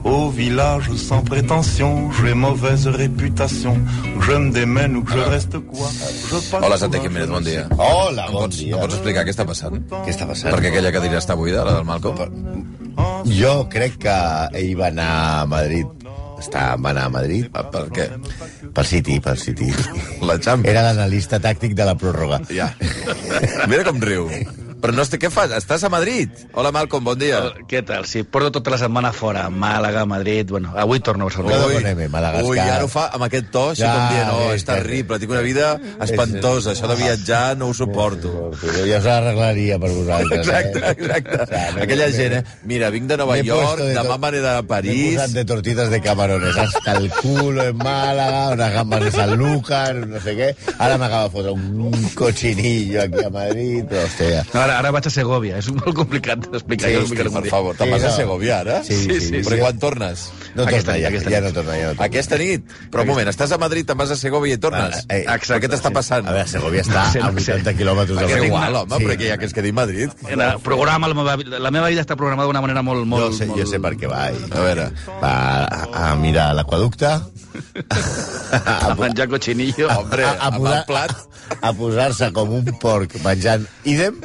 Au village sans prétention, j'ai mauvaise réputation. Que Je me démène ou que je reste quoi je oh passe Hola, Santi pour un Jiménez, bon dia. Hola, Em bon pots, dia. Em pots explicar què està passant? Què està passant? Perquè aquella cadira està buida, la del Malcolm? Jo crec que ell va anar a Madrid. Està, va anar a Madrid. Per, per què? Per City, per City. La Champions. Era l'analista tàctic de la pròrroga. Ja. Mira com riu. Però no, estic- què fas? Estàs a Madrid? Hola, Malcolm, bon dia. Què tal? Si porto tota la setmana fora, Màlaga, Madrid... Bueno, avui torno a Barcelona. Cada Bonem, Madagascar. ui, ara ho fa amb aquest to, així Ja, com dient, oh, bé, és que- terrible, tinc una vida espantosa, això de viatjar no ho suporto. Però ja us arreglaria per vosaltres. Exacte, eh? exacte. O sea, m'he- Aquella m'he- gent, eh? Mira, vinc de Nova m'he York, puesto de demà tot- m'aniré a M'he París... posat de tortitas de camarones hasta el culo en Málaga, unas gambas de Sanlúcar, no sé qué. Ahora me acabo de fotre un cochinillo aquí a Madrid, hostia. No, ara, ara vaig a Segovia, és molt complicat d'explicar. Sí, jo hosti, explicaré un per dia. favor, te'n Sí, vas a no. Segovia, ara? Sí, sí, sí, Però sí. quan tornes? No Aquesta torna, nit, ja, aquesta ja nit. no torna, ja no torna. Aquesta nit? Però un moment, estàs a Madrid, te'n vas a Segovia i tornes? Ah, eh, Però què t'està sí. passant? A veure, Segovia està No sé, no a 80 sé. quilòmetres de Que és Madrid. igual, home, Sí. però que ja que es quedi a Madrid. El programa, la meva, vida- la meva vida està programada d'una manera molt... molt jo, sé, molt... jo sé per què va. I, A veure. va a, a mirar l'aquaducte, A menjar cochinillo. Hombre, a, a, amb el posar- plat... a posar-se com un porc menjant idem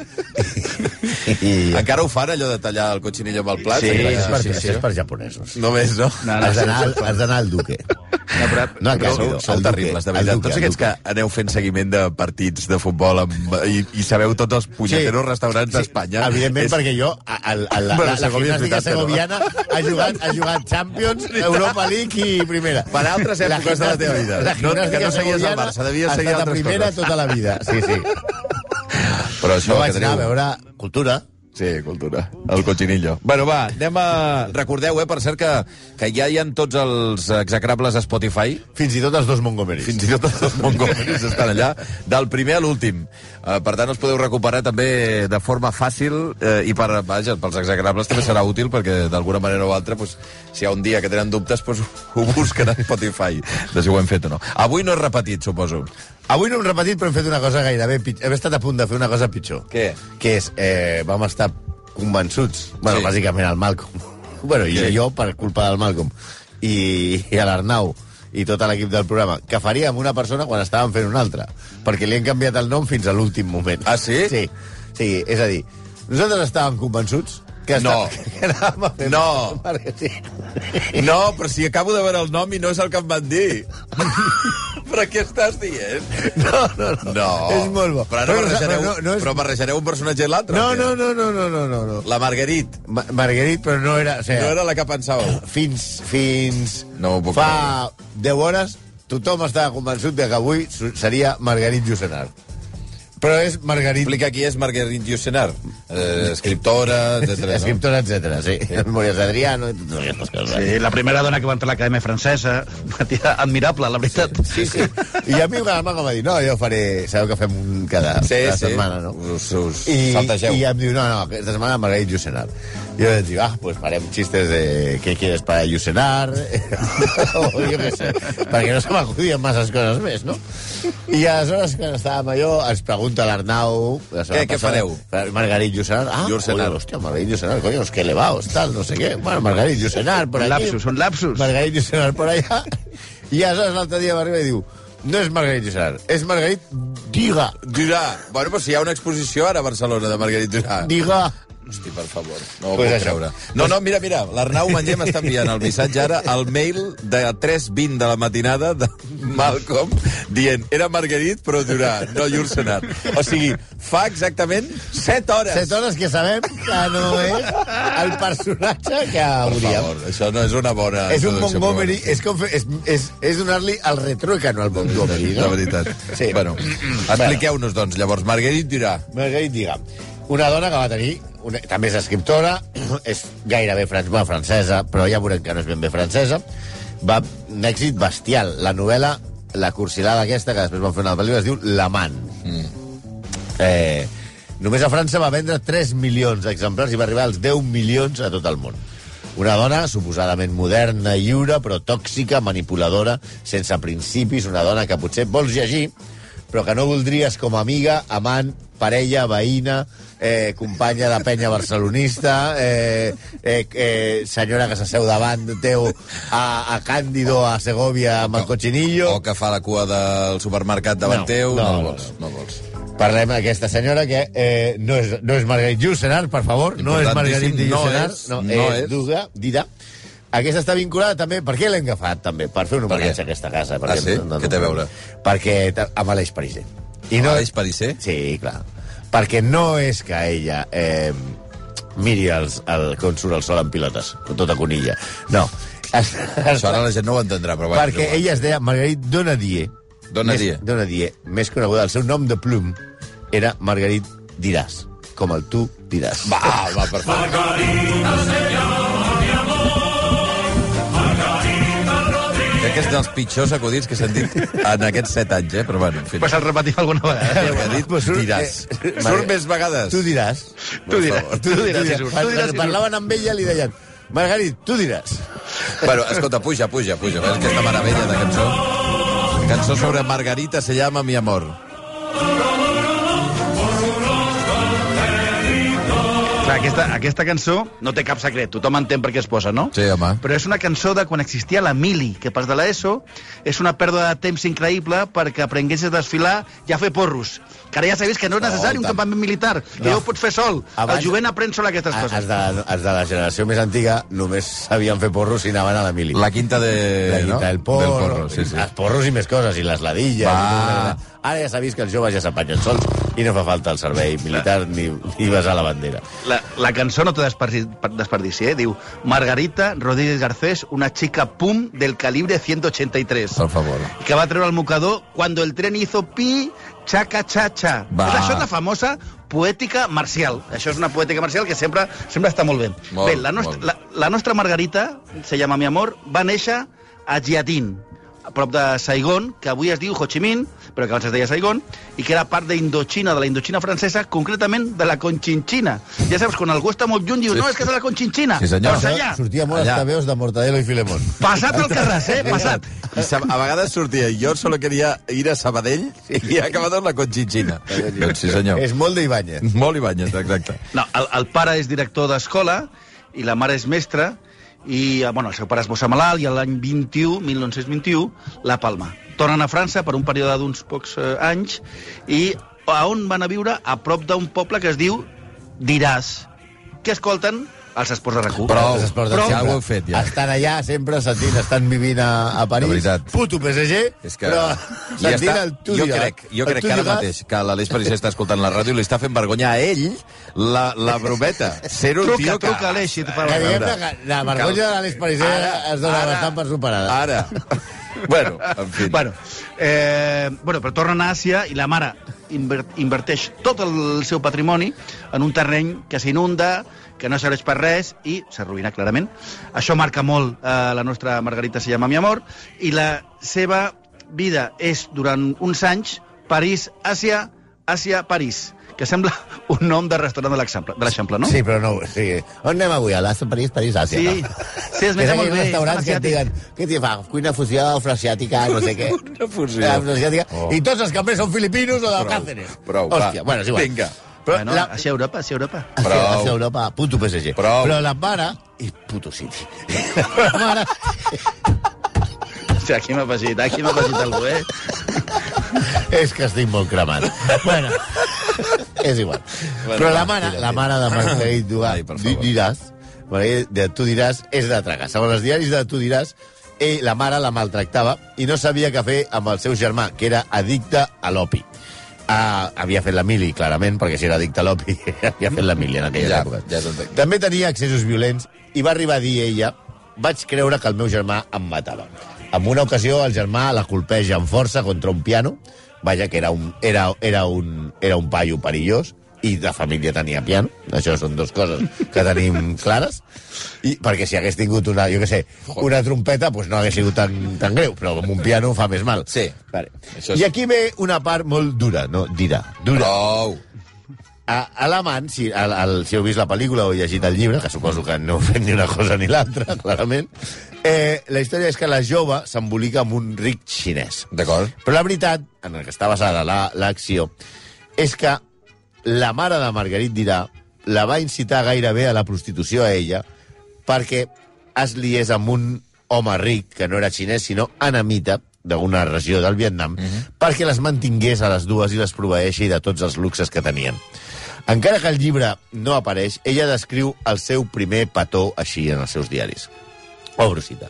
i... Encara ho fan, allò de tallar el cochinillo amb el plat? Sí, això és per, sí, sí, això és per japonesos. Només, no? No, no, Has sí, d'anar al- has d'anar al duque. no, però, No, a casa, Sou, no, sou al terribles, Duque, de al veritat. Duque, Tots aquests que al aneu fent seguiment de partits de futbol amb, i, i sabeu tots els punyeteros Sí. restaurants d'Espanya... Evidentment, És- perquè jo, a, a, a la, Bueno, la, la Segovia és veritat, gimnàstica però- segoviana ha jugat, ha jugat Champions, Europa League i primera. Per altres èpoques de la teva vida. La No, gimnàstica que no seguies el segoviana Barça, devies ha seguir estat a altres primera coses. tota la vida. Sí, sí. Però això Jo que vaig anar a teniu- veure cultura, Sí, cultura. El cochinillo. Bueno, va, anem a... Recordeu, eh, per cert, que, que ja hi ha tots els execrables a Spotify. fins i tot els dos Montgomerys. Fins i tot els dos mongolis estan allà, del primer a l'últim. Eh, per tant, els podeu recuperar també de forma fàcil eh, i per, vaja, pels execrables també serà útil perquè d'alguna manera o altra, pues, si hi ha un dia que tenen dubtes, pues, ho busquen a Spotify, de si ho hem fet o no. Avui no és repetit, suposo. Avui no hem repetit, però hem fet una cosa gairebé pitjor. Hem estat a punt de fer una cosa pitjor. Què? Que és, eh, vam estar convençuts, bueno, Sí. sí. bàsicament el Malcolm, bueno, i Sí. jo per culpa del Malcolm, i, i a l'Arnau, i tot l'equip del programa, que faríem una persona quan estàvem fent una altra, perquè li hem canviat el nom fins a l'últim moment. Ah, sí? Sí, sí, és a dir, nosaltres estàvem convençuts que, No. estàvem, que anàvem a fer... No. Perquè sí. No, però si acabo de veure el nom i no és el que em van dir. però què estàs dient? No, no, no. no. És molt bo. Però, ara Però no- barrejareu, però no- no és- però barrejareu un personatge i l'altre? No, o què? no, no, no, no, no, no, no. La Marguerite. Ma Marguerite, però no era... O sigui, No era la que pensàveu. fins, fins No ho puc fa 10 hores tothom estava convençut de que avui su- seria Margarit Llucenar. Però és Margarit... Explica qui és Marguerite Yourcenar. Eh, escriptora, etcètera. No? Escriptora, etc. Sí. Memòries d'Adriano i totes aquestes coses. Sí, la primera dona que va entrar a l'Acadèmia Francesa, una tia admirable, la veritat. Sí, sí. I a mi el Malcolm va dir, no, jo faré... Sabeu que fem un cada, Sí, cada sí. setmana, no? Us, us I, saltegeu. I em diu, no, no, aquesta setmana Margarit Llucenar. Jo vaig dir, ah, pues farem xistes de què quieres para Llucenar, o jo què sé, perquè no se m'acudien masses coses més, no? I aleshores, quan estàvem allò, ens pregunta l'Arnau... la setmana Què- què passada, fareu? Margarit Llucenar. Ah, Llucenar. Llucenar. hòstia, Margarit Llucenar, coño, los que elevados, tal, no sé què. Bueno, Margarit Llucenar, per Un aquí. lapsus, un lapsus. Margarit Llucenar per allà. I aleshores l'altre dia m'arriba i diu, no és Margarit Llucenar, és Margarit Diga. Dirà, bueno, però si hi ha una exposició ara a Barcelona de Marguerite Yourcenar. Diga. Hosti, per favor, no ho pues Pues puc això. creure. No, no, mira, mira, l'Arnau Manllé m'està enviant el missatge ara al mail de 3.20 de la matinada de Malcolm dient, era Marguerite, però durà, no llur senat. O sigui, fa exactament 7 hores. Set hores que sabem que no és el personatge que Per hauríem. favor, això no és una bona... És un introducció, Montgomery, però és, com fer, és, és, és donar-li el retruécano al Montgomery, bueno, no? De veritat. Sí. Mm, Bueno, expliqueu-nos, doncs, llavors. Marguerite dirà... Margarit Diga, una dona que va tenir... Una, també és escriptora, és gairebé frans, bueno, francesa, però ja veurem que no és ben bé francesa. Va, un èxit bestial. La novel·la, la cursilada aquesta, que després van fer una pel·lícula, es diu L'amant. Mm. Eh, Només a França va vendre 3 milions d'exemplars i va arribar als 10 milions a tot el món. Una dona suposadament moderna, lliure, però tòxica, manipuladora, sense principis, una dona que potser vols llegir, però que no voldries com a amiga, amant, parella, veïna, eh, companya de penya barcelonista, eh, eh, eh, senyora que s'asseu davant teu a, a Càndido, a Segovia, amb el cochinillo... O que fa la cua del supermercat davant No, teu. no, No, no, el vols, no el vols. Parlem d'aquesta senyora que eh, no, és, no és Margarit Jusenar, per favor. No és Margarit Importantíssim, no Jusenar. és, No, no no és. és. Duda, Dida. Aquesta està vinculada també... Per què l'hem agafat, també? Per fer un Per què? homenatge a aquesta casa. Ah, sí? Què té a veure? Perquè ta- amb Aleix Pariser. I No, és Pariser? Sí, clar. Perquè no és que ella eh, miri els, el, com surt el sol en pilotes, con tota conilla. No. Això ara la gent no ho entendrà, però... vaja, és Perquè igual. ella es deia Margarit Donadier. Donadier. Més, Donadier, més coneguda. El seu nom de plum era Margarit Diràs, com el tu diràs. Va, va, per favor. Crec que és dels pitjors acudits que s'han dit en aquests set anys, eh? Però bueno, en fi. Pues el repetim alguna vegada. Que ha dit, Pues surt- diràs. eh, Surt més vegades. Tu diràs. Tu diràs, tu diràs, si surt, tu diràs, si surt. Parlaven amb ella i li deien Margarit, tu diràs. Bueno, escolta, puja, puja, puja. Ves aquesta meravella de cançó. Cançó sobre Margarita se llama Mi amor. Clar, aquesta, aquesta cançó no té cap secret, tothom entén per què es posa, no? Sí, home. Però és una cançó de quan existia la Mili, que pas de l'ESO és una pèrdua de temps increïble perquè aprenguessis a desfilar i a fer porros. Que ara ja sabies que no és Oh, necessari oh, un tant. campament militar, que No. ja ho pots fer sol. Abans- El jovent aprèn sol aquestes A- Els coses. de, els de la generació més antiga només sabien fer porros i anaven a la mili. La quinta de... la guita, no? el porro, Del porro, sí, sí. els porros i més coses, i les ladilles. Va. I tot, Ara ja s'ha vist que els joves ja s'apanyen sols i no fa falta el servei militar ni, ni besar la bandera. La, la cançó no té desperdici, desperdici, eh? Diu Margarita Rodríguez Garcés, una chica pum del calibre 183. Per favor. que va treure el mocador cuando el tren hizo pi, chaca, chacha. Va. És això és la famosa poètica marcial. Això és una poètica marcial que sempre sempre està molt bé. Molt, bé, la nostra, molt. la, la nostra Margarita, se llama mi amor, va néixer a Jiatin, a prop de Saigon, que avui es diu Ho Chi Minh, però que abans es deia Saigon, i que era part d'Indochina, de la Indochina francesa, concretament de la Conchinchina. Ja saps, quan algú està molt lluny, dius, Sí. no, és que és de la Conchinchina. Sí, senyor. Doncs allà, Sortia molt Allà. als tabeos de Mortadelo i Filemón. passat el Carràs, eh? Passat. I sa- a vegades sortia, jo solo quería ir a Sabadell i ha acabat amb la Conchichina. Doncs sí, senyor. És molt d'Ibáñez. Molt Ibáñez, exacte. No, el, el pare és director d'escola i la mare és mestra i eh, bueno, el seu pare es mossa malalt i a l'any 21, 1921, La Palma. Tornen a França per un període d'uns pocs eh, anys i a on van a viure? A prop d'un poble que es diu Diràs, que escolten els esports de RAC1. Prou. Els esports Prou. de sempre. Ja ho heu fet, ja. Estan allà sempre sentint, estan vivint a, a París. De veritat. Puto PSG, És que... però Ja sentint està. el tu Jo diràs. crec, jo El crec tu que ara diràs. mateix que l'Aleix Pariser està escoltant la ràdio i li està fent vergonya a ell la, la brometa. Ser un Truca, tio que... truca, Aleix, si et fa Que vergonya. diguem que la vergonya de l'Àlex Pariser Ara, es dona ara. bastant per superada. Ara. Bueno, en fi. Bueno, eh, bueno, però tornen a Àsia i la mare inver inverteix tot el seu patrimoni en un terreny que s'inunda, que no serveix per res i s'arruïna, clarament. Això marca molt eh, la nostra Margarita se llama mi amor i la seva vida és durant uns anys París, Àsia, Àsia, París que sembla un nom de restaurant de l'Eixample, de l'Eixample, no? Sí, però no, sí. On anem avui? A l'Asta París, París, Àsia. Sí. no? Sí, es menja És molt aquells bé, restaurants són que et diguen, què t'hi fa? Cuina fusió, afroasiàtica, no sé què. Una fusió. Oh. Afroasiàtica. I tots els cambrers són filipinos o de Prou, Càceres. prou, va. Hòstia, bueno, és igual. Vinga. Però bueno, la, la... Així a Europa, així a Europa. Prou. Prou. Hacia Europa, puto PSG. Prou. Però la mare... I puto City. la mare... Hòstia, aquí m'ha afegit, aquí m'ha afegit algú, eh? És que estic molt cremat. bueno, és igual. Bueno, Però va, la mare, tira, la tira. mare de Margarit Ai, per favor. Dugas, diràs, Margarit de tu diràs, és de tragar. Segons els diaris de tu diràs, ell, la mare la maltractava i no sabia què fer amb el seu germà, que era addicte a l'opi. Ah, havia fet la mili, clarament, perquè si era addicte a l'opi, havia fet la mili en aquella Ja, època. ja t'entenc. També tenia accessos violents i va arribar a dir ella vaig creure que el meu germà em matava. En una ocasió el germà la colpeja amb força contra un piano, vaja que era un, era, era un, era un paio perillós, i la família tenia piano. Això són dues coses que tenim clares. I, perquè si hagués tingut una, jo què sé, una trompeta, doncs no hagués sigut tan, tan greu, però amb un piano fa més mal. Sí. Vale. Això és- I aquí ve una part molt dura, no? Dira. Dura. Prou. a Alamant, si, al, al, si heu vist la pel·lícula o llegit el llibre, que suposo que no heu fet ni una cosa ni l'altra, clarament, eh, la història és que la jove s'embolica amb un ric xinès. D'acord. Però la veritat, en el que està basada la- l'acció, la, és que la mare de Margarit Dirà la va incitar gairebé a la prostitució a ella perquè es liés amb un home ric, que no era xinès, sinó anamita, d'alguna regió del Vietnam, perquè les mantingués a les dues i les proveeixi de tots els luxes que tenien. Encara que el llibre no apareix, ella descriu el seu primer petó així en els seus diaris. Obro cita.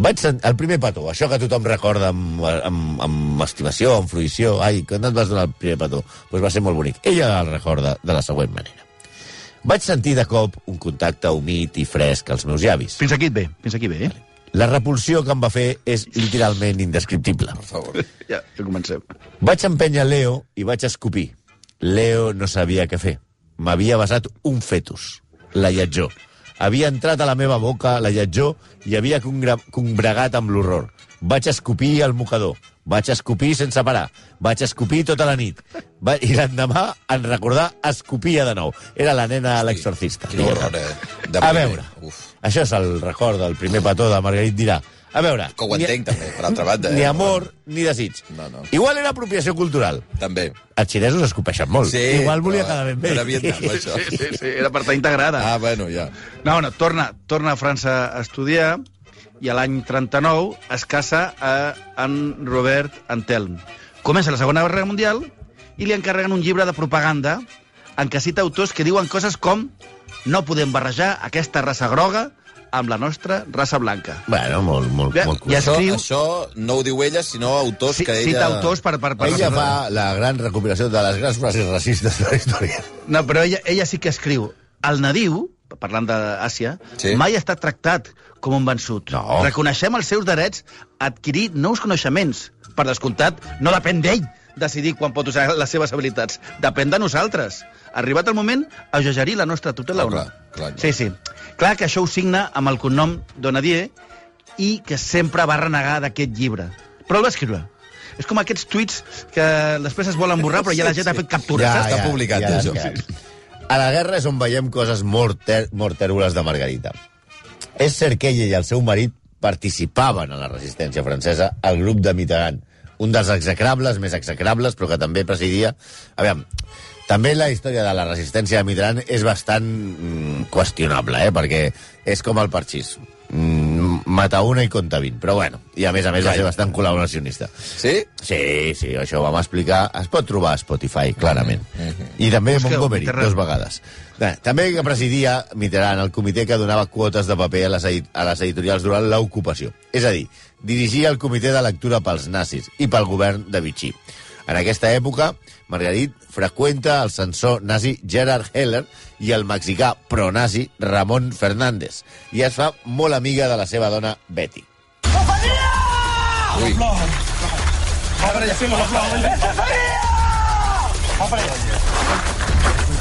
Vaig sent... El primer petó, això que tothom recorda amb, amb, amb estimació, amb fruïció. Ai, quan et vas donar el primer petó? Doncs va ser molt bonic. Ella el recorda de la següent manera. Vaig sentir de cop un contacte humit i fresc als meus llavis. Fins aquí et ve, fins aquí ve, eh? La repulsió que em va fer és literalment indescriptible. Ja, ja comencem. Vaig empènyer Leo i vaig escopir. Leo no sabia què fer. M'havia basat un fetus, la lletjó. Havia entrat a la meva boca la lletjó i havia congra- combregat amb l'horror. Vaig escopir al mocador. Vaig escopir sense parar. Vaig escopir tota la nit. Va... I l'endemà, en recordar, escopia de nou. Era la nena a l'exorcista. Quin horror, eh? De A primer. veure, Uf. això és el record del primer petó de Margarit Dirà. A veure... Que ho ni- entenc, també, per altra banda. Ni eh? amor, ni desig. No, no. Igual era apropiació cultural També. els xinesos escopeixen molt. Igual volia però quedar ben bé. Era Vietnam, això. Sí, sí, sí, era per estar integrada. Ah, bueno, ja. No, no, torna, torna a França a estudiar i a l'any 39 es casa a en Robert Antelm. Comença la Segona Guerra Mundial i li encarreguen un llibre de propaganda en què cita autors que diuen coses com no podem barrejar aquesta raça groga amb la nostra raça blanca. Bueno, molt, molt, Ja- molt ja Això, curiós. Escriu- això no ho diu ella, sinó autors Ci- que ella... Cita autors per... per, per Ella fa la gran recopilació de les grans frases racistes de la història. No, però ella, ella sí que escriu. El nadiu, parlant d'Àsia, Sí. sí. mai ha estat tractat com un vençut. No. Reconeixem els seus drets a adquirir nous coneixements. Per descomptat, no depèn d'ell decidir quan pot usar les seves habilitats. Depèn de nosaltres. Arribat el moment, ajogerir la nostra tutela Ah, o no. clar, clar, clar. Sí, sí. Clar que això ho signa amb el cognom Donadier i que sempre va renegar d'aquest llibre. Però el va escriure. És com aquests tuits que després es volen borrar, però ja la gent ha fet captura, Ja, saps? està publicat, això. ja. A la guerra és on veiem coses molt, ter molt tèrboles de Margarita. És cert que ella i el seu marit participaven en la resistència francesa al grup de Mitterrand, un dels execrables més execrables, però que també presidia... A veure, també la història de la resistència de Mitterrand és bastant mm, qüestionable, eh? perquè és com el parxís. Mm, mata una i conta vint, però bueno, i a més a més va ser bastant col·laboracionista. Sí? Sí, sí, això ho vam explicar. Es pot trobar a Spotify, clarament. I també Busqueu, Montgomery, Mitterrand. dos vegades. Bé, També que presidia Mitterrand el comitè que donava quotes de paper a les, edi- a les editorials durant l'ocupació. És a dir, dirigia el comitè de lectura pels nazis i pel govern de Vichy. En aquesta època, Margarit freqüenta el censor nazi Gerard Heller i el mexicà pronazi Ramon Fernández i es fa molt amiga de la seva dona Betty. Ui.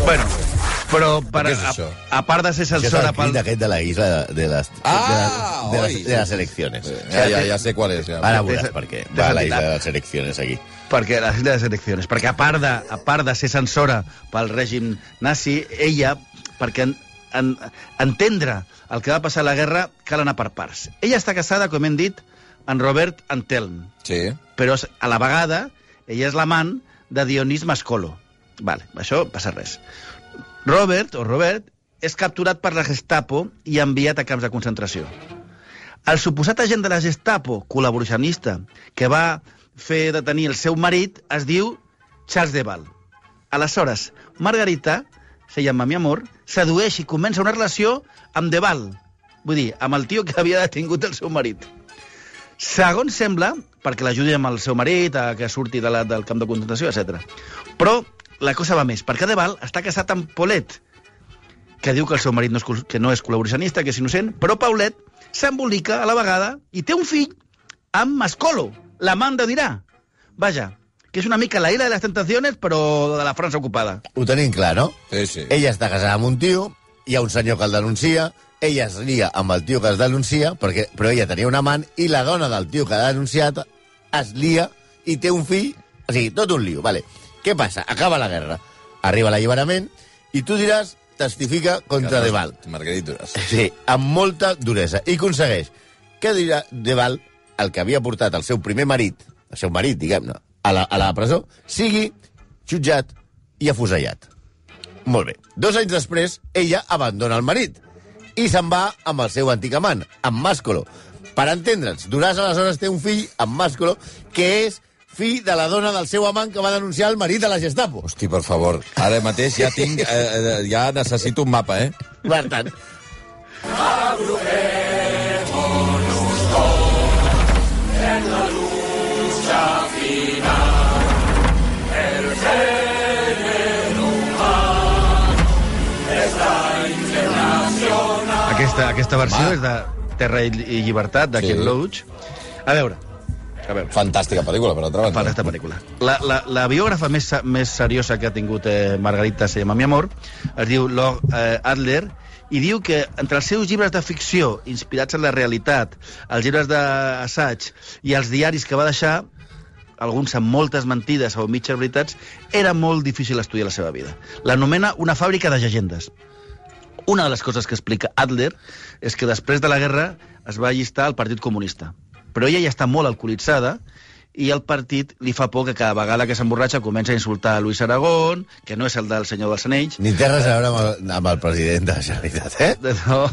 Bueno, però per, Què és a, això? a part de ser Això és censora el pel... crit aquest de la isla de, de les, Ah, de, la, oi. Eh, de, les, de les elecciones. Ja, ja, ja sé qual és. Ja. Ara Té veuràs sen- per què. té Va a la sentit. isla de les elecciones, aquí. Perquè la de les eleccions. Perquè a part de, a part de ser censora pel règim nazi, ella, perquè en, en, entendre el que va passar a la guerra, cal anar per parts. Ella està casada, com hem dit, en Robert Antelm, Sí. però és- a la vegada ella és l'amant de Dionís Mascolo. Vale, això passa res. Robert, o Robert, és capturat per la Gestapo i enviat a camps de concentració. El suposat agent de la Gestapo, col·laboracionista, que va fer detenir el seu marit, es diu Charles de Val. Aleshores, Margarita, se llama mi amor, sedueix i comença una relació amb de Val, vull dir, amb el tio que havia detingut el seu marit. Segons sembla, perquè l'ajudi amb el seu marit, a que surti de la, del camp de concentració, etc. Però la cosa va més, perquè Deval està casat amb Paulet, que diu que el seu marit no és, col- que no és col·laboracionista, que és innocent, però Paulet s'embolica a la vegada i té un fill amb Mascolo, l'amant de Dirà. Vaja, que és una mica la ira de les tentaciones, però de la França ocupada. Ho tenim clar, no? Sí, sí. Ella està casada amb un tio, hi ha un senyor que el denuncia, ella es lia amb el tio que es denuncia, perquè, però ella tenia un amant, i la dona del tio que ha denunciat es lia i té un fill... O sigui, tot un lío, vale. Què passa? Acaba la guerra. arriba l'alliberament, i tu diràs, testifica contra De Val. Margaritas. Sí, amb molta duresa. I aconsegueix que dirà De Val, el que havia portat el seu primer marit, el seu marit, diguem-ne, a, la, a la presó, sigui jutjat i afusellat. Molt bé. Dos anys després, ella abandona el marit i se'n va amb el seu antic amant, amb Màscolo. Per entendre'ns, Duràs aleshores té un fill, amb Màscolo, que és fill de la dona del seu amant que va denunciar el marit de la Gestapo. Hosti, per favor, ara mateix ja tinc... Eh, eh, ja necessito un mapa, eh? Per tant, Aquesta, aquesta versió és de Terra i, i Llibertat, de Sí. sí. Ken Loach. A veure, Fantàstica pel·lícula, per altra per banda. aquesta pel·lícula. La, la, la biògrafa més, se- més seriosa que ha tingut eh, Margarita se llama Mi amor, es diu Log eh, Adler, i diu que entre els seus llibres de ficció, inspirats en la realitat, els llibres d'assaig i els diaris que va deixar, alguns amb moltes mentides o mitges veritats, era molt difícil estudiar la seva vida. L'anomena una fàbrica de llegendes. Una de les coses que explica Adler és que després de la guerra es va allistar al Partit Comunista. Però ella ja està molt alcoholitzada i el partit li fa por que cada vegada que s'emborratxa comença a insultar a Luis Aragón, que no és el del senyor dels anells, ni té res a veure amb el, amb el president de la Generalitat, eh? de- no,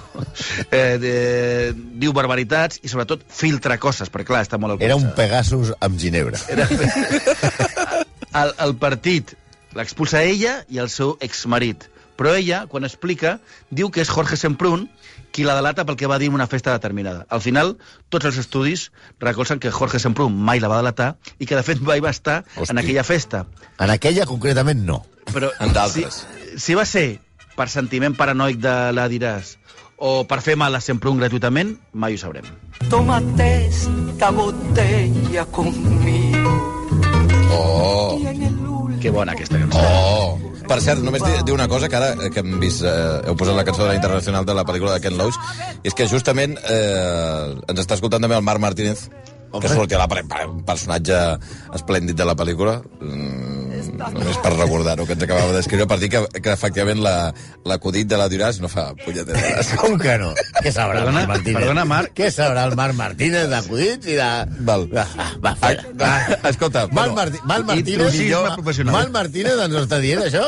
eh, de, diu barbaritats i sobretot filtra coses, perquè clar, està Era molt un alcoholitzada. Pegasus amb Ginebra. El, el partit l'expulsa ella i el seu exmarit. Però ella, quan explica, diu que és Jorge Semprún qui la delata pel que va dir en una festa determinada. Al final, tots els estudis recolzen que Jorge Semprún mai la va delatar i que, de fet, mai va estar Hosti. Hosti. en aquella festa. En aquella, concretament, no. Però En d'altres. Si, si va ser per sentiment paranoic de la diràs o per fer mal a Semprún gratuïtament, mai ho sabrem. Tómate esta botella conmigo. Oh, Tiene luz. Que bona aquesta cançó. oh. Per cert, només dir, dir una cosa, que ara eh, que hem vist... Eh, heu posat la cançó de la Internacional de la pel·lícula de Ken Loach, i és que justament eh, ens està escoltant també el Marc Martínez, que sortia la, un personatge esplèndid de la pel·lícula. Mm, només per recordar-ho, que ens acabava d'escriure, per dir que, que efectivament la- l'acudit la, de la Duràs no fa punyetera. Com que no? Què sabrà Perdona- el Marc Martínez? perdona, Marc. Què sabrà el Marc Martínez d'acudits i de... Val. Va, va, Ah, fora. ah, escolta, Marc, bueno, Martí, Marc Martínez... intrusisme professional. Marc Martínez ens ho està dient, això?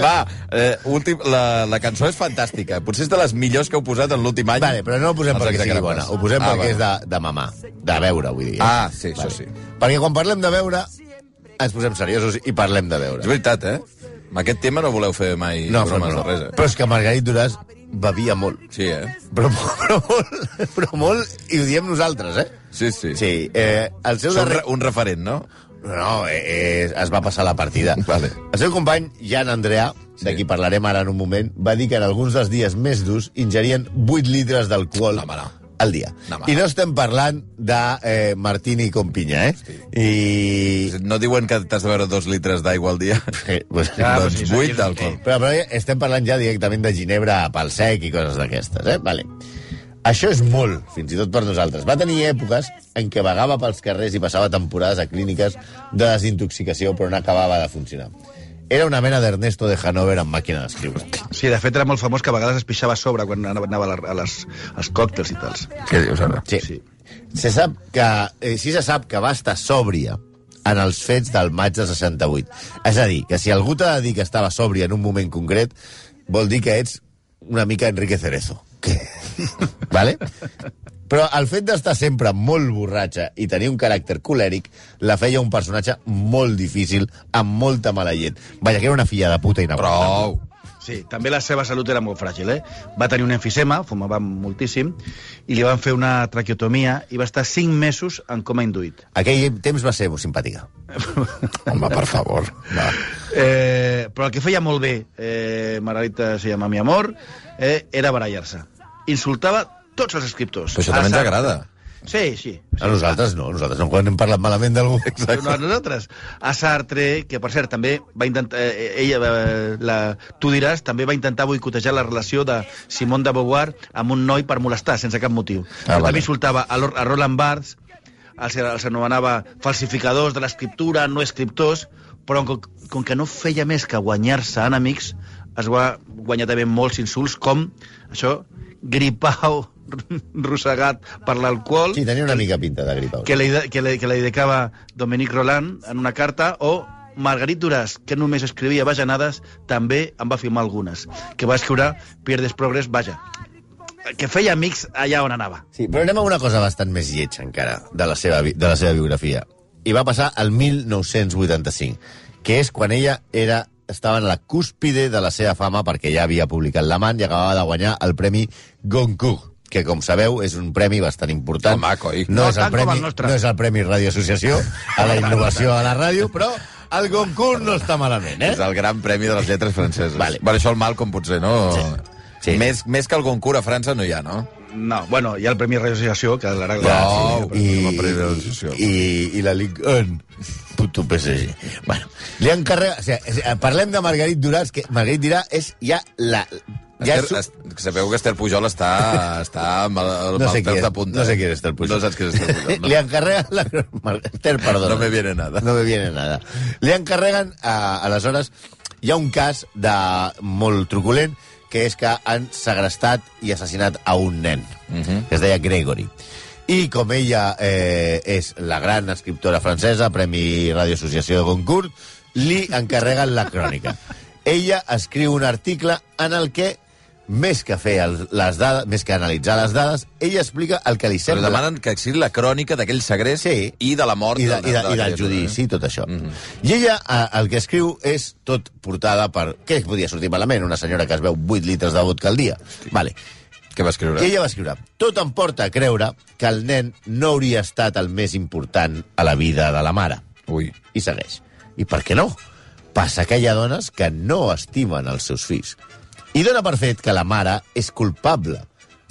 Va, eh, últim, la, la cançó és fantàstica. Potser és de les millors que heu posat en l'últim any. Vale, però no ho posem Els perquè sigui exagrames. bona, ho posem Ah, perquè va. és de, de mamar, de veure, vull dir. eh? Ah, sí, això sí. Perquè quan parlem de veure, ens posem seriosos i parlem de És veure. veritat, eh? Amb aquest tema no voleu fer mai No, però, bromes no. de res, eh? però és que Margarit Duràs bevia molt. Sí, eh? Però, però, molt, però molt, i ho diem nosaltres, eh? Sí, sí. Sí, eh, el seu És un, darrer... re un referent, no? No, eh, eh, es va passar la partida. Vale. El seu company, Jan Andrea, sí. de qui parlarem ara en un moment, va dir que en alguns dels dies més durs ingerien 8 litres d'alcohol No, home, no. al dia. No, home, I no. no estem parlant de eh, Martini con pinya, eh? I... No diuen que t'has de beure dos litres d'aigua al dia? Eh, pues, Ah, però doncs sí, sí, sí, vuit sí, d'alcohol. Però, però estem parlant ja directament de Ginebra pel sec i coses d'aquestes, eh? Vale. Això és molt, fins i tot per nosaltres. Va tenir èpoques en què vagava pels carrers i passava temporades a clíniques de desintoxicació, però no acabava de funcionar. Era una mena d'Ernesto de Hanover amb màquina d'escriure. Sí, de fet era molt famós que a vegades es pixava a sobre quan anava anava a la- a les, als còctels i tals. Què dius ara? Sí. sí. Se sap que, eh, sí se sap que va estar sòbria en els fets del maig de 68. És a dir, que si algú t'ha de dir que estava sòbria en un moment concret, vol dir que ets una mica Enrique Cerezo. Que... vale? Però el fet d'estar sempre molt borratxa i tenir un caràcter colèric la feia un personatge molt difícil, amb molta mala llet. Vaja, que era una filla de puta inaguantable. Prou. Sí, també la seva salut era molt fràgil, eh? Va tenir un enfisema, fumava moltíssim, i li van fer una traqueotomia i va estar 5 mesos en coma induït. Aquell temps va ser molt simpàtica. Home, per favor. Va. Eh, però el que feia molt bé, eh, Margarita se llama Mi Amor, eh, era barallar-se. Insultava tots els escriptors. Però això també ens Assad- agrada. Sí, sí. A nosaltres no, a nosaltres no, quan hem parlat malament d'algú. No, a nosaltres. A Sartre, que per cert també va intentar... Eh, ella, eh, la, tu diràs, també va intentar boicotejar la relació de Simone de Beauvoir amb un noi per molestar, sense cap motiu. Ah, vale. També insultava a, Lor- a Roland Barthes, els, els anomenava falsificadors de l'escriptura, no escriptors, Però com, com que no feia més que guanyar-se enemics, es va guanyar també molts insults, com això, gripau rosegat per l'alcohol, Sí, tenia una mica pinta de gripau. que, le, que, le, que le dedicava Dominic Roland en una carta, o Margarit Duràs, que només escrivia bajanades, també en va filmar algunes, que va escriure Pierdes Progress, vaja, que feia amics allà on anava. Sí, però anem a una cosa bastant més lletja encara de la seva, bi- de la seva biografia. I va passar al 1985, que és quan ella era, estava en la cúspide de la seva fama perquè ja havia publicat L'amant i acabava de guanyar el premi Goncourt que, com sabeu, és un premi bastant important. Home, coi. No, No és el tant com premi, el nostre. no és el Premi Radio Associació a la innovació a la ràdio, però el Goncourt no està malament, eh? És el gran premi de les lletres franceses. Vale. Per això el Malcom potser, no? Sí. Sí. Més, més que el Goncourt a França no hi ha, no? No, bueno, hi ha el Premi Reis Associació, que l'ara... Prou. i, la previsió. i, i la Ligue 1 puto PSG bueno, li encarrega o sigui, o sigui, parlem de Margarit Duràs que Margarit Duràs és ja la ja Esther, és, est, sabeu que Esther Pujol està, està amb el, amb No sé el qui pèl és, de punta. eh? no sé qui és Esther Pujol. No saps qui és Esther Pujol. li encarrega la, Mar- Esther, perdona No me viene nada. no me viene nada li encarreguen a, aleshores hi ha un cas de molt truculent que és que han segrestat i assassinat a un nen Mhm. que es deia Gregory. I com ella eh, és la gran escriptora francesa, Premi Radio Associació de Goncourt, li encarreguen la crònica. Ella escriu un article en el que, més que fer el, les dades, més que analitzar les dades, ella explica el que li Però sembla demanen que exili la crònica d'aquell segrest Sí. i de la mort i, de, i, de, i la del criatura, judici eh? i tot això. I ella eh, el que escriu és tot portada per... Què podia sortir malament? Una senyora que es veu 8 litres de vodka al dia. Vale. Què va escriure? I ella va escriure, tot em porta a creure que el nen no hauria estat el més important a la vida de la mare. Ui. I segueix. I per què no? Passa que hi ha dones que no estimen els seus fills. I dona per fet que la mare és culpable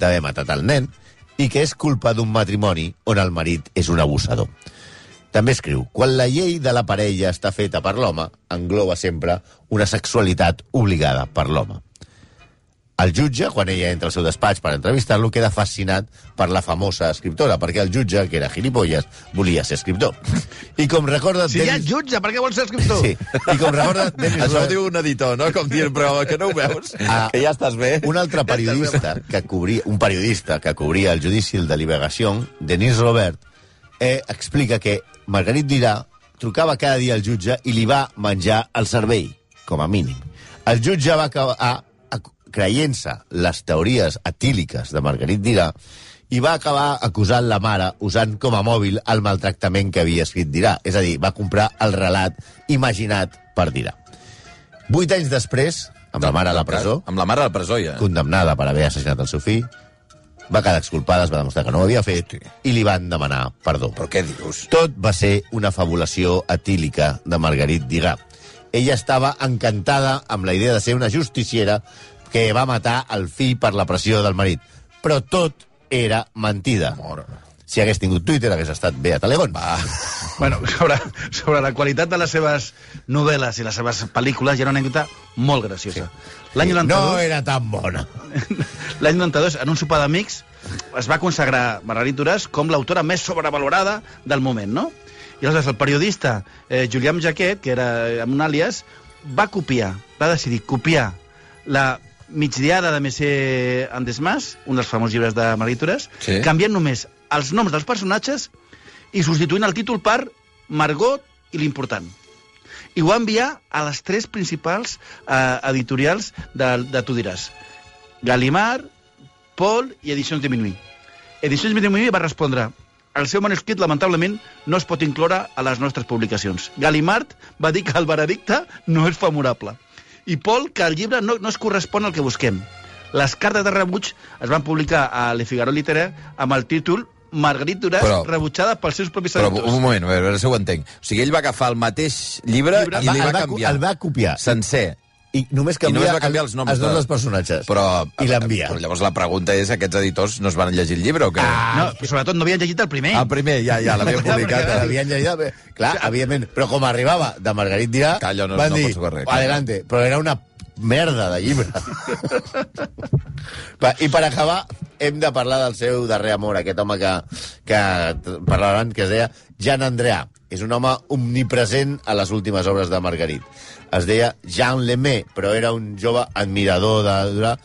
d'haver matat el nen i que és culpa d'un matrimoni on el marit és un abusador. També escriu, quan la llei de la parella està feta per l'home, engloba sempre una sexualitat obligada per l'home. El jutge, quan ella entra al seu despatx per entrevistar-lo, queda fascinat per la famosa escriptora, perquè el jutge, que era gilipolles, volia ser escriptor. I com recorda... Si hi ha Dennis- jutge, per què vols ser escriptor? Sí, i com recorda Dennis Això ho Rodman, diu un editor, no? Com dir, però que no ho veus, Ah. que ja estàs bé. un altre periodista que cobria, un periodista que cobria el judici de l'Ibegació, Denis Robert, eh, explica que Margarit Dirà trucava cada dia al jutge i li va menjar el cervell, com a mínim. El jutge va acabar ac- creient-se les teories atíliques de Margarit Dirà i va acabar acusant la mare usant com a mòbil el maltractament que havia escrit Dirà. És a dir, va comprar el relat imaginat per Dirà. Vuit anys després, amb la mare a la presó, Amb la mare a la presó, ja. condemnada per haver assassinat el seu fill, va quedar exculpada, es va demostrar que no ho havia fet, i li van demanar perdó. Però què dius? Tot va ser una fabulació atílica de Margarit Digà. Ella estava encantada amb la idea de ser una justiciera que va matar el fill per la pressió del marit. Però tot era mentida. Si hagués tingut Twitter, hagués estat bé a Talegón. Va. Bueno, sobre, sobre la qualitat de les seves novel·les i les seves pel·lícules hi ha una anècdota molt graciosa. L'any 92... No eh, era tan bona. L'any 92, en un sopar d'amics, es va consagrar Margarit Duràs com l'autora més sobrevalorada del moment, no? I aleshores el periodista eh, Julián Jaquet, que era eh, amb un àlies, va copiar, va decidir copiar la migdiada de Messier Andesmas, un dels famosos llibres de Margarit Duràs, Sí. sí. canviant només els noms dels personatges i substituint el títol per Margot i l'important i ho va enviar a les tres principals eh, editorials de, de Tu diràs. Galimar, Pol i Edicions Diminuir. Edicions Diminuir va respondre el seu manuscrit, lamentablement, no es pot incloure a les nostres publicacions. Galimard va dir que el veredicte no és favorable. I Pol, que el llibre no, no es correspon al que busquem. Les cartes de rebuig es van publicar a Le Figaro Literaire amb el títol Margarit Duràs Però- rebutjada pels seus propis Però editors. un moment, a veure, a veure si ho entenc. O sigui, ell va agafar el mateix llibre, Llibre, i li va, el co- canviar. El va copiar. Sencer. I només I canvia, només va canviar els noms, els noms de- dels personatges. Però, I l'envia. Ah, Però llavors la pregunta és, aquests editors no es van llegir el llibre o què? No, però sobretot no havien llegit el primer. El primer, ja, ja, l'havia publicat. publicat, l'havien llegit. Bé, clar, evidentment, però com arribava de Margarit Dirà, Que allò no- van no dir, pot ser correcte. adelante, però era una merda de llibre. Va, I per acabar, hem de parlar del seu darrer amor, aquest home que, que parlaran que es deia Jean Andrea. És un home omnipresent a les últimes obres de Margarit. Es deia Jean Lemay, però era un jove admirador de Dura,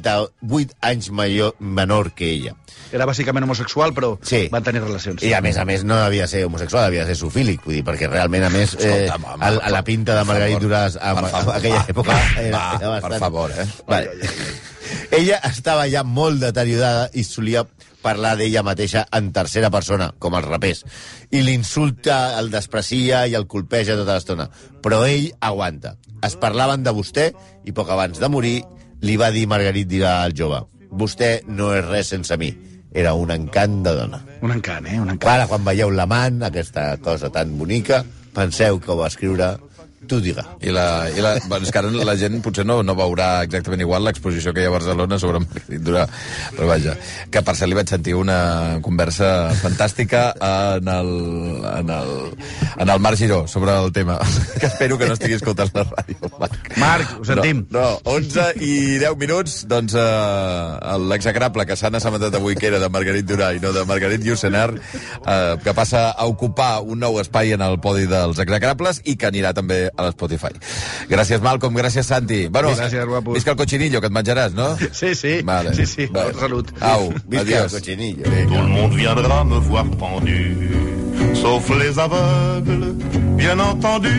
38 anys major, menor que ella. Era bàsicament homosexual, però Sí. van tenir relacions. I a més a més no devia ser homosexual, devia ser sofílic, vull dir, perquè realment a més eh, Escolta'm, home, a, a la pinta de per Margarit favor, Duras a, per favor, a aquella va, època va, era, va, era bastant... per favor, eh? Vale. Ella estava ja molt deteriorada i solia parlar d'ella mateixa en tercera persona, com els rapers. I l'insulta, el desprecia i el colpeja tota l'estona. Però ell aguanta. Es parlaven de vostè i poc abans de morir li va dir Margarit dirà al jove vostè no és res sense mi. Era un encant de dona. Un encant, eh? Un encant. Clar, quan veieu l'amant, aquesta cosa tan bonica, penseu que ho va escriure tu diga. I la, i la, bueno, és que ara la gent potser no, no veurà exactament igual l'exposició que hi ha a Barcelona sobre Margarit Durà. Però vaja, que per cert li vaig sentir una conversa fantàstica en el, en el, en el Marc Giró sobre el tema. Que espero que no estigui escoltant la ràdio, Marc. Marc, ho sentim. No, no 11 i 10 minuts, doncs eh, l'execrable que s'han assabentat avui que era de Margarit Durà i no de Margarit Llucenar, eh, que passa a ocupar un nou espai en el podi dels execrables i que anirà també a l'Spotify. Gràcies, Malcolm, gràcies, Santi. Bueno, Gràcies, guapos. Visca el cochinillo, que et menjaràs, no? Sí, sí, Vale. sí, sí, Vale. salut. Au, Visca el adiós. cochinillo. Tout le monde viendra me voir pendu, sauf les aveugles, bien entendu.